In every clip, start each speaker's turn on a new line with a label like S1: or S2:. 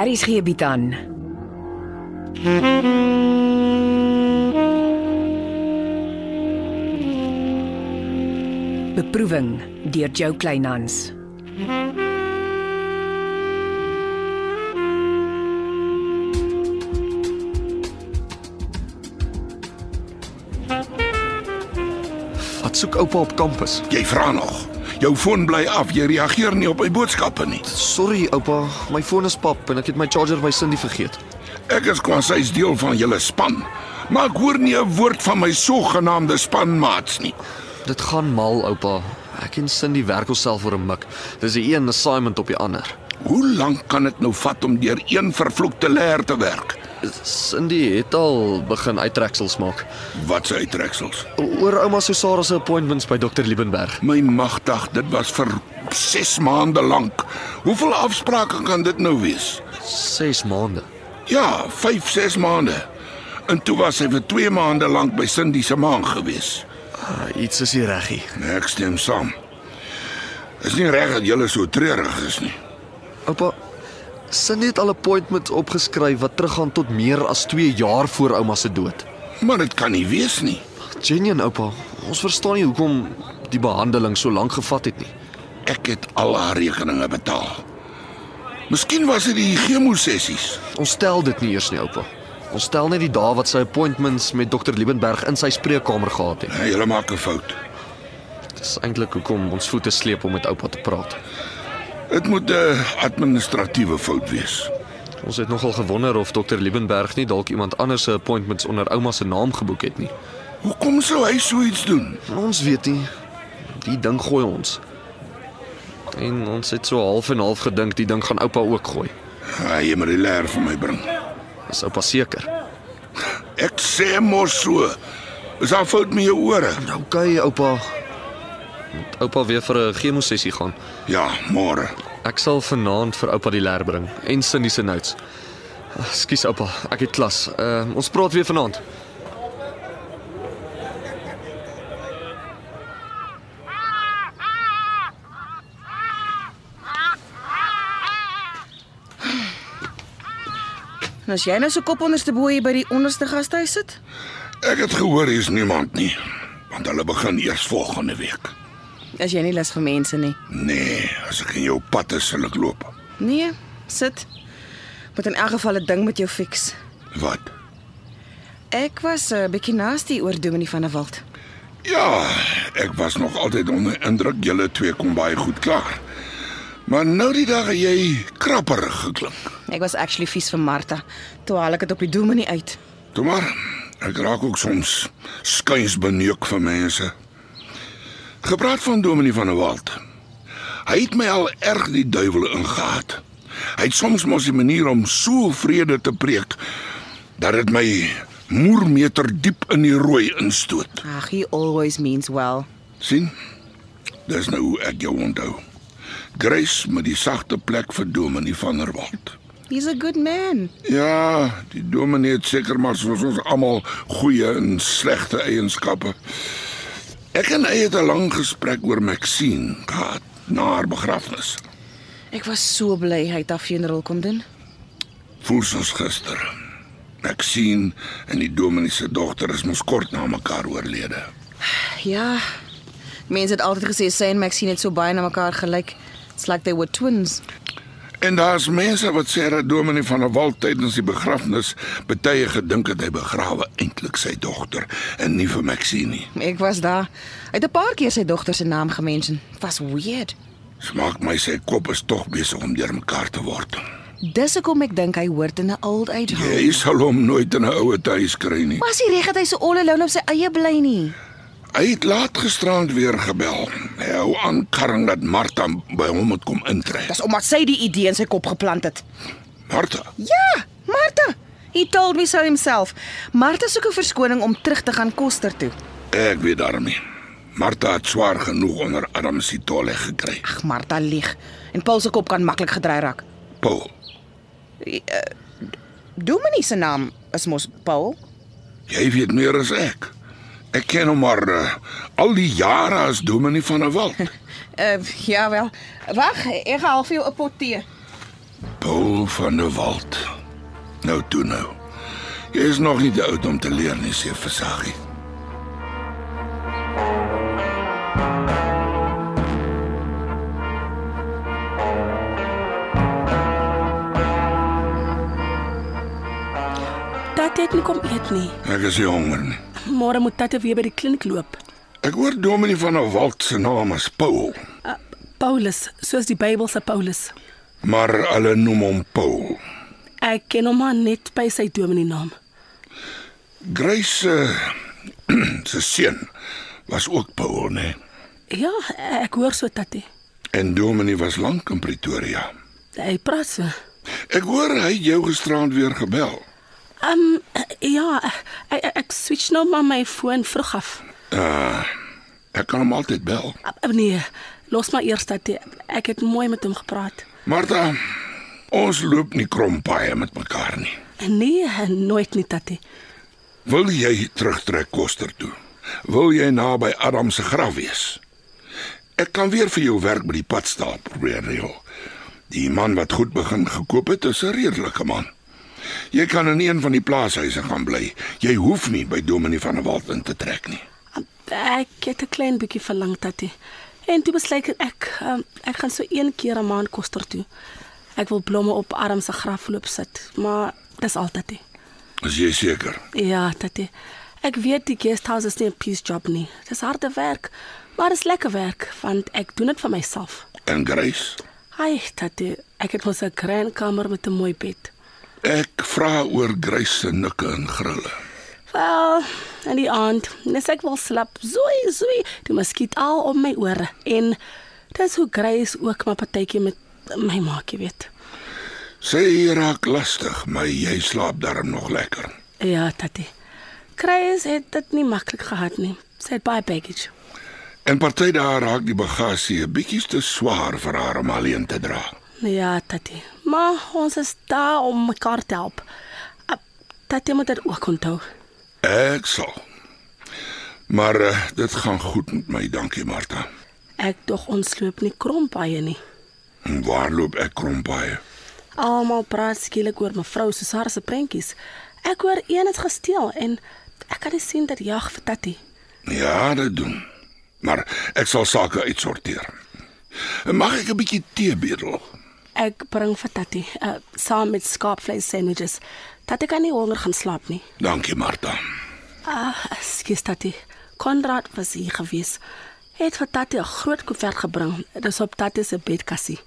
S1: Aries gee bied aan. Beproeving deur Jo Kleinhans.
S2: Wat soek oupa op kampus?
S3: Jy vra nog. Jou foon bly af. Jy reageer nie op my boodskappe nie.
S2: Sorry oupa, my foon is pap en ek het my charger by Cindy vergeet.
S3: Ek is kwansys deel van julle span, maar ek hoor nie 'n woord van my sogenaamde spanmaats nie.
S2: Dit gaan mal oupa. Ek en Cindy werk onsself vir 'n mik. Dis die een assignment op die ander.
S3: Hoe lank kan dit nou vat om deur een vervloekte leer te werk?
S2: Cindy het al begin uittreksels maak
S3: Wat se uittreksels?
S2: oor ouma Susara se appointments by dokter Liebenberg.
S3: My magtig, dit was vir 6 maande lank. Hoeveel afsprake kan dit nou wees?
S2: 6 maande.
S3: Ja, 5, 6 maande. En toe was hy vir 2 maande lank by Cindy se ma gewees.
S2: Uh, iets is hier reggie.
S3: Nee, ek stem saam. Is nie reg dat julle so treurig is nie.
S2: Oupa, Cindy het al 'n appointment opgeskryf wat teruggaan tot meer as 2 jaar voor ouma se dood.
S3: Maar dit kan nie wees nie.
S2: Genien oupa, ons verstaan nie hoekom die behandeling so lank gevat het nie.
S3: Ek het al haar rekeninge betaal. Miskien was dit die chemosessies.
S2: Ons stel dit nie eers nie, oupa. Ons stel net die dae wat sy appointments met dokter Liebenberg in sy spreekkamer gehad het.
S3: Nee, julle maak 'n fout.
S2: Dis eintlik hoekom ons voete sleep om met oupa te praat.
S3: Dit moet 'n administratiewe fout wees.
S2: Ons het nogal gewonder of dokter Liebenberg nie dalk iemand anders se appointments onder ouma se naam geboek het nie.
S3: Hoekom sou hy so iets doen?
S2: Ons weet nie. Die ding gooi ons. En ons het so half en half gedink die ding gaan oupa ook gooi.
S3: Ah, jy moet die leer vir my bring.
S2: Is oupa seker?
S3: Ek sê mos so. Is daar fout met jou ore?
S2: OK, Nou, oupa. Moet oupa weer vir 'n chemosessie gaan.
S3: Ja, môre.
S2: Ek sal vanaand vir oupa die leer bring en Cindy se notes. Ekskuus oupa, ek het klas. Uh, ons praat weer vanaand.
S4: En as jy nou so kop onderste bo hier by die onderste gastehuis sit,
S3: Ek het gehoor hier's niemand nie, want hulle begin eers volgende week.
S4: as jy nie lus vir mense nie.
S3: Nee, as ek in jou pad is, sal ek loop.
S4: Nee, sit. Moet in elk geval 'n ding met jou fix.
S3: Wat?
S4: Ek was 'n bietjie nasty oor Dominie van der Walt.
S3: Ja, ek was nog altyd onder indruk julle twee kom baie goed klaar. Maar nou die dag het jy krapperig geklink.
S4: Ek was actually vies vir Martha. Toe haal ek dit op die Dominie uit.
S3: Toe maar, ek raak ook soms skuins beneuk van mense. Gepraat van Dominee van der Walt. Hy het my al erg die duiwel ingehaat. Hy het soms mos 'n manier om so vrede te preek dat dit my moermeter diep in die rooi instoot.
S4: Ag, he always means well.
S3: sien? Dis nou hoe ek jou onthou. Grace met die sagte plek vir Dominee van der Walt.
S4: He's a good man.
S3: Ja, die dominee het seker maar soos ons almal goeie en slegte eienskappe. Ek en hy het 'n lang gesprek oor Maxine gehad na haar begrafnis.
S4: Ek was so bly hy het haar funeral kom doen.
S3: Voel soos gister. Maxine en die dominee se dogter is mos kort na mekaar oorlede.
S4: Ja. Mense het altyd gesê sy en Maxine het so baie na mekaar gelyk. It's like they were twins.
S3: En daar's mense wat sê dat Dominee van der Walt tydens die begrafnis betye gedink het hy begrawe eintlik sy dogter en nie vir Maxine nie.
S4: Ek was daar. Hy het 'n paar keer sy dogter se naam gemention. Was weird.
S3: Smaak my sy kop is tog besig om deurmekaar te word.
S4: Dis hoekom ek dink hy hoort in 'n old age home.
S3: Jy sal hom nooit in 'n oue huis kry nie.
S4: Maar as hy reg dat hy so all alone op sy eie bly nie.
S3: Hy het laat gisterand weer gebel. Hy hou aan karring dat Martha by hom moet kom intrek.
S4: Dis omdat sy die idee in sy kop geplant het.
S3: Martha,
S4: Ja, Martha. He told me so himself. Martha soek 'n verskoning om terug te gaan Koster toe.
S3: ek weet daarmee. Martha het swaar genoeg onder Adam se tolle gekry.
S4: Ag, Martha lieg. En Paul se kop kan maklik gedry raak.
S3: Paul,
S4: Dominie se naam is mos Paul.
S3: jy weet meer as ek. Ek ken hom maar uh, al die jare as dominee van 'n wald.
S4: Eh, Uh, ja wel. Wag, ek gaan al vir jou 'n pot tee.
S3: Paul van der Walt. Nou toe nou. Jy is nog nie te oud om te leer nie, sê Versaggie.
S5: Tat het nie kom eet nie.
S3: Ek is nie honger nie.
S5: Môre moet Tat weer by die kliniek loop.
S3: Ek hoor Dominee van der Walt se naam is Paul,
S5: Uh, Paulus, soos die Bybel se Paulus.
S3: maar hulle noem hom Paul.
S5: Ek ken hom maar net by sy dominee naam.
S3: Grace se se seun was ook Paul, nee.
S5: Ja, ek hoor so Tatie.
S3: En Dominee was lank in Pretoria.
S5: Hy praat so.
S3: Ek hoor hy het jou gisteraand weer gebel.
S5: Ehm um, ja, ek, ek, ek switch nou maar my foon vroeg af.
S3: Uh, ek kan hom altyd bel.
S5: Uh, nee, los maar eers Tatie. Ek het mooi met hom gepraat.
S3: Martha, ons loop nie krompaaie met mekaar nie.
S5: Nee, nooit nie Tatie.
S3: Wil jy terugtrek koster toe? Wil jy naby Adam se graf wees? Ek kan weer vir jou werk by die padstaal probeer reël. Die man wat goed begin gekoop het, is 'n redelike man. Jy kan in een van die plaashuise gaan bly. Jy hoef nie by Dominee van der Walt in te trek nie.
S5: Ehm, Ek het 'n klein bietjie verlang Tatie. En toe besluit ek ek, um, ek gaan so een keer 'n maand koster toe. Ek wil blomme op Adam se graf loop sit, maar dis al Tatie.
S3: Is jy seker?
S5: Ja, Tatie. Ek weet die guesthouse is nie 'n piece job nie. Dis harde werk, maar dis lekker werk want ek doen dit vir myself.
S3: En Grace,
S5: Ai, Tatie, ek het mos 'n klein kamer met 'n mooi bed.
S3: ek vra oor Grace se nikke en grille.
S5: Wel, in die aand, nes ek wil slap, zoei zoei, toe muskiet al om my ore en dis hoe Grace ook maar partytjie met my maakie weet.
S3: Sy raak lastig, maar jy slaap darm nog lekker.
S5: Ja, Tatie. Grace het dit nie maklik gehad nie. Sy het baie baggage.
S3: En party daar raak die bagasie 'n bietjie te swaar vir haar om alleen te dra.
S5: Ja, Tatie. Maar ons is daar om mekaar te help. Ah, Tatie moet dit ook onthou.
S3: Ek sal. Maar uh, dit gaan goed met my, dankie Martha.
S5: Ek dog ons loop nie kromp baie nie.
S3: En waar loop ek krompaai?
S5: Almal praat skielik oor mevrou Susan se prentjies. Ek hoor een het gesteel en ek kan nie sien dat jag vir Tatie.
S3: Ja, dit doen. Maar ek sal sake uitsorteer. Mag ek 'n bietjie tee bedel?
S5: Ek bring vir Tatie, uh, saam met skaapvleis sandwiches. Tatie kan nie honger gaan slaap nie.
S3: Dankie Martha.
S5: Ah, skus Tatie. Konrad was hier gewees. Hy het vir Tatie 'n groot koevert gebring. Dit is op Tatie se bedkassie.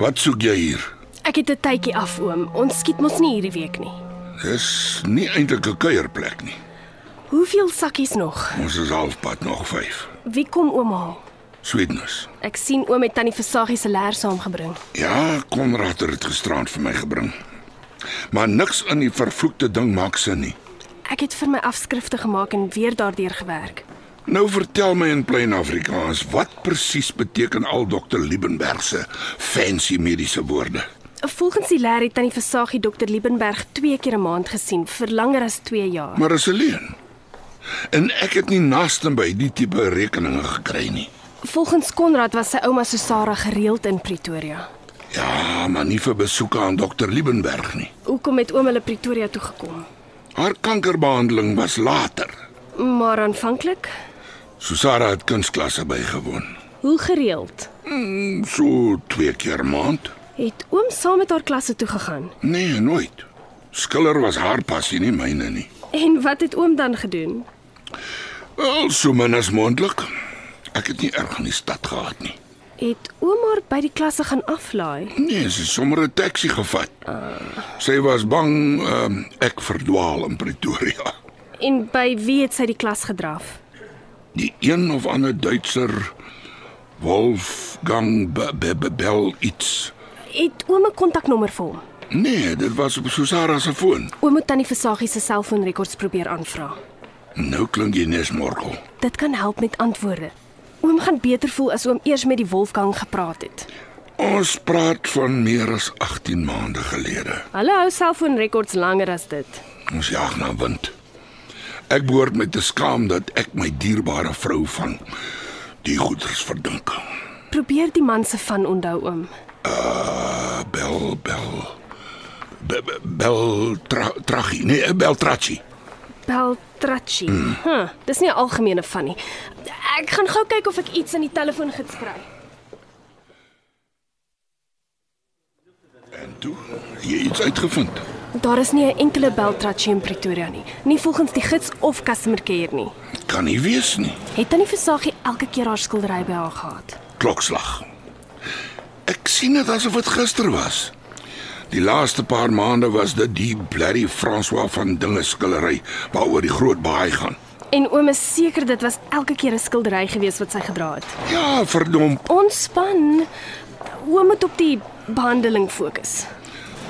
S3: Wat soek jy hier?
S6: Ek het 'n tydjie af oom. Ons skiet mos nie hierdie week nie.
S3: Dis nie eintlik 'n kuierplek nie.
S6: Hoeveel sakkies nog?
S3: Ons is halfpad nog 5.
S6: Wie kom oom haal?
S3: Sweetness.
S6: Ek sien oom het tannie Versaggie se leer saamgebring.
S3: Ja, Konrad het dit gisterand vir my gebring. Maar niks in die vervloekte ding maak sin nie.
S6: Ek het vir my afskrifte gemaak en weer daardeur gewerk.
S3: Nou vertel my in plain Afrikaans, wat presies beteken al dokter Liebenberg se fancy mediese woorde?
S6: Volgens die leer het tannie Versaggie dokter Liebenberg 2 keer 'n maand gesien vir langer as 2 jaar.
S3: Maar is 'n leuen. En ek het nie naaste by die tipe rekeninge gekry nie.
S6: Volgens Konrad was sy ouma Susara gereeld in Pretoria.
S3: Ja, maar nie vir besoeke aan dokter Liebenberg nie.
S6: Hoekom het oom hulle Pretoria toe gekom?
S3: Haar kankerbehandeling was later.
S6: Maar aanvanklik,
S3: Susara het kunstklasse bygewoon.
S6: hoe gereeld?
S3: So twee keer 'n maand?
S6: Het oom saam met haar klasse toe gegaan?
S3: Nee, nooit. Skiller was haar passie nie myne nie.
S6: En wat het oom dan gedoen?
S3: Wel, so min as moontlik. Ek het nie erg in die stad gehad nie.
S6: Het oom haar by die klasse gaan aflaai?
S3: Nee, sy het sommer 'n taxi gevat. Sy was bang um, ek verdwaal in Pretoria.
S6: En by wie het sy die klas gedraf?
S3: Die een of ander Duitser Wolfgang Be- Be- Be- Bell iets.
S6: Het oom 'n kontaknommer vir hom?
S3: Nee, dit was op Susara se foon.
S6: Oom moet tannie Versaggie se selfoonrekords probeer aanvra.
S3: Nou klink jy nes morgel.
S6: Dit kan help met antwoorde. Oom gaan beter voel as oom eers met die Wolfgang gepraat het.
S3: Ons praat van meer as 18 maande gelede.
S6: Hulle hou selfoonrekords langer as dit.
S3: Ons jag na wind. Ek behoort my te skaam dat ek my dierbare vrou van die goeders verdink.
S6: Probeer die man se van onthou oom.
S3: Uh, bel bel. Be, be, bel tra, tragie. Nee, bel tragie.
S6: Beltracci. Hm, huh, dis nie 'n algemene van nie. Ek gaan gou kyk of ek iets in die telefoon geskry.
S3: En toe, jy iets uitgevind.
S6: Daar is nie 'n enkele Beltracci in Pretoria nie, nie volgens die gids of customer care nie.
S3: Kan nie wees nie.
S6: Het Tannie Versaggie elke keer haar skildery by haar gehad?
S3: Klokslag. Ek sien dit asof dit gister was. Die laaste paar maande was dit die blerrie François van Dinge skillery waaroor die groot baai gaan.
S6: En oom is seker dit was elke keer 'n skildery gewees wat sy gedra het.
S3: Ja, verdomp.
S6: Ontspan. Oom moet op die behandeling fokus.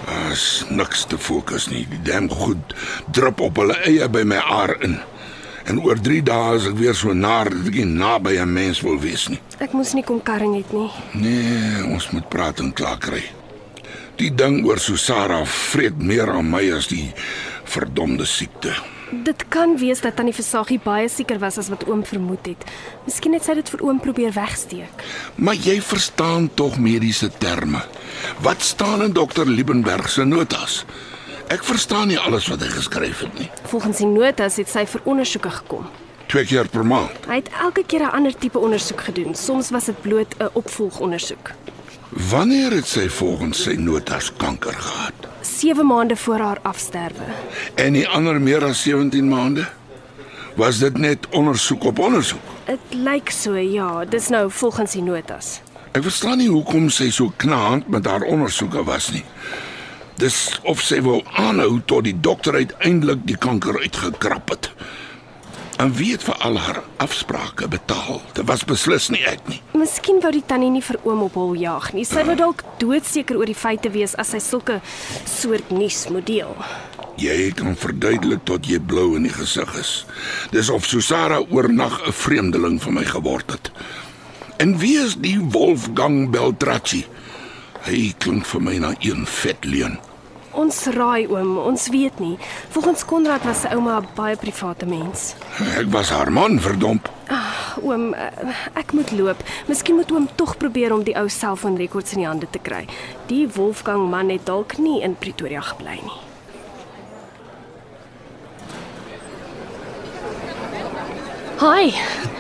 S3: Daar's niks te fokus nie. Die dam goed drup op hulle eie by my aar in. En oor 3 dae is ek weer so naar dat ek nie naby 'n mens wil wees nie.
S6: Ek moes nie kom karring het nie.
S3: Nee, ons moet praat en klaar kry. Die ding oor Susara vreet meer aan my as die verdomde siekte.
S6: Dit kan wees dat Tannie Versaggie baie seker was as wat oom vermoed het. Miskien het sy dit vir oom probeer wegsteek.
S3: Maar jy verstaan tog mediese terme. Wat staan in dokter Liebenberg se notas? Ek verstaan nie alles wat hy geskryf het nie.
S6: Volgens die notas het sy vir ondersoeke gekom.
S3: Twee keer per maand.
S6: Hy het elke keer 'n ander tipe ondersoek gedoen. Soms was dit bloot 'n opvolgondersoek.
S3: Wanneer het sy volgens sy notas kanker gehad?
S6: 7 maande voor haar afsterwe.
S3: En die ander meer as 17 maande? Was dit net ondersoek op ondersoek?
S6: Dit lyk so, ja, dis nou volgens die notas.
S3: Ek verstaan nie hoekom sy so knaand met haar ondersoeke was nie. Dis of sy wou aanhou tot die dokter uiteindelik die kanker uitgekrap het. En wie het vir al haar afsprake betaal? Dit was beslis nie ek nie.
S6: Miskien wou die tannie nie vir oom op hol jaag nie. Sy wou dalk doodseker oor die feite wees as sy sulke soort nuus moet deel.
S3: Jy kan verduidelik tot jy blou in die gesig is. Dis of Susara oornag 'n vreemdeling van my geword het. En wie is die Wolfgang Beltracci? Hy klink vir my na een vet leuen.
S6: Ons raai oom, ons weet nie. Volgens Konrad was sy ouma 'n baie private mens.
S3: Ek was haar man, verdomp.
S6: Oom, eh, ek moet loop. Miskien moet oom tog probeer om die ou selfoonrekords in die hande te kry. Die Wolfgang man het dalk nie in Pretoria gebly nie. Hi,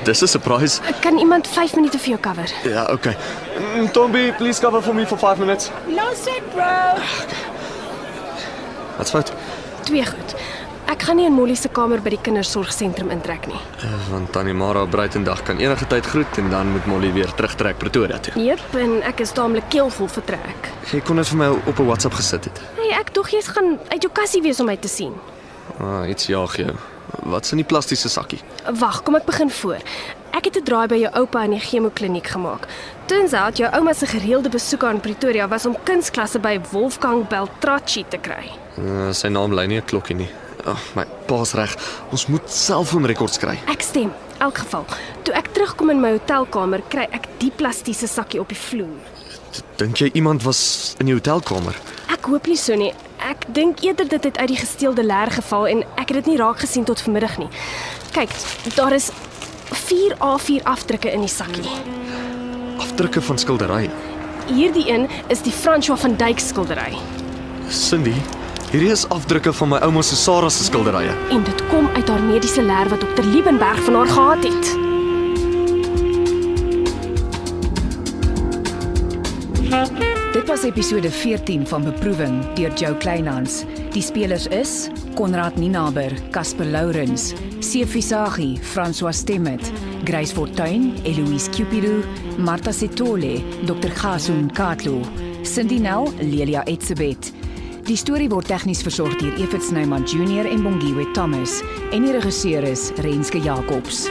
S2: Dis 'n surprise.
S6: kan iemand 5 minute vir jou cover?
S2: Ja, okay. Tombi, please cover for me for 5 minutes.
S5: No sit bro.
S2: Wat's fout?
S6: Twee goed. Ek gaan nie in Molly se kamer by die kindersorgsentrum intrek nie.
S2: Eh, Want Tannie Mara Breitendag kan enige tyd groet en dan moet Molly weer terugtrek Pretoria toe.
S6: Jep, en ek is taamlik keelvol vertrek.
S2: Jy kon dit vir my op 'n WhatsApp gesit het.
S6: Hey, ek dog jy's gaan uit jou kassie wees om my te sien.
S2: Ah, iets jaag jou. Wat's in die plastiese sakkie?
S6: Wag, kom ek begin voor. Ek het 'n draai by jou oupa in die chemokliniek gemaak. Toensout jou ouma se gereelde besoeke aan Pretoria was om kunstklasse by Wolfgang Beltracci te kry.
S2: Uh, sy naam lei nie 'n klokkie nie. Ag, oh, my pa's reg. Ons moet selfoonrekords kry.
S6: Ek stem. Elk geval, toe ek terugkom in my hotelkamer, kry ek die plastiese sakkie op die vloer.
S2: Dink jy iemand was in die hotelkamer?
S6: Ek hoop nie so nie. Ek dink eerder dit het uit die gesteelde leer geval en ek het dit nie raak gesien tot vanmiddag nie. Kyk, daar is 4 A4 afdrukke in die sakkie.
S2: Afdrukke van skilderye.
S6: Hierdie een is die François van Dyk skildery
S2: Cindy, hierdie is afdrukke van my ouma se Sarah se skilderye.
S6: en dit kom uit haar mediese leer wat dokter Liebenberg van haar gehad het.
S1: Dit was episode 14 van Beproewing deur Jo Kleinhans. Die spelers is Konrad Ninaber, Casper Lourens, Sefisagi, François Stemmet, Grace Fortuin, Eloise Cupido, Martha Setole, Dr. Gasun Katlo, Cindy Nel, Lelia Etsebet. Die storie word tegnies versorg deur Evit Snyman Junior en Bongwe Thomas en die regisseur is Renske Jacobs.